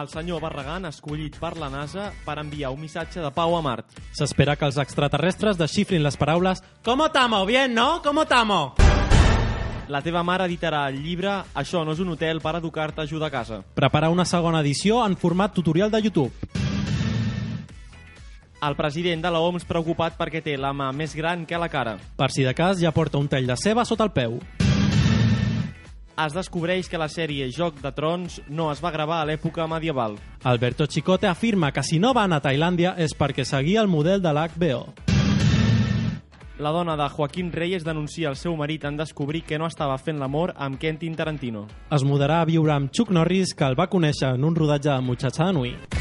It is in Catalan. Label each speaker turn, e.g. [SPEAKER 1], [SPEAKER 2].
[SPEAKER 1] el senyor Barragan escollit per la NASA per enviar un missatge de pau a Mart.
[SPEAKER 2] S'espera que els extraterrestres desxifrin les paraules «Como tamo? Bien, no? Como tamo?»
[SPEAKER 1] La teva mare editarà el llibre Això no és un hotel per educar-te a ajudar a casa.
[SPEAKER 2] Prepara una segona edició en format tutorial de YouTube.
[SPEAKER 1] El president de la OMS preocupat perquè té la mà més gran que la cara.
[SPEAKER 2] Per si de cas, ja porta un tall de ceba sota el peu.
[SPEAKER 1] Es descobreix que la sèrie Joc de Trons no es va gravar a l'època medieval.
[SPEAKER 2] Alberto Chicote afirma que si no van a Tailàndia és perquè seguia el model de l'HBO.
[SPEAKER 1] La dona de Joaquín Reyes denuncia el seu marit en descobrir que no estava fent l'amor amb Quentin Tarantino.
[SPEAKER 2] Es mudarà a viure amb Chuck Norris, que el va conèixer en un rodatge de Muchacha de Nui.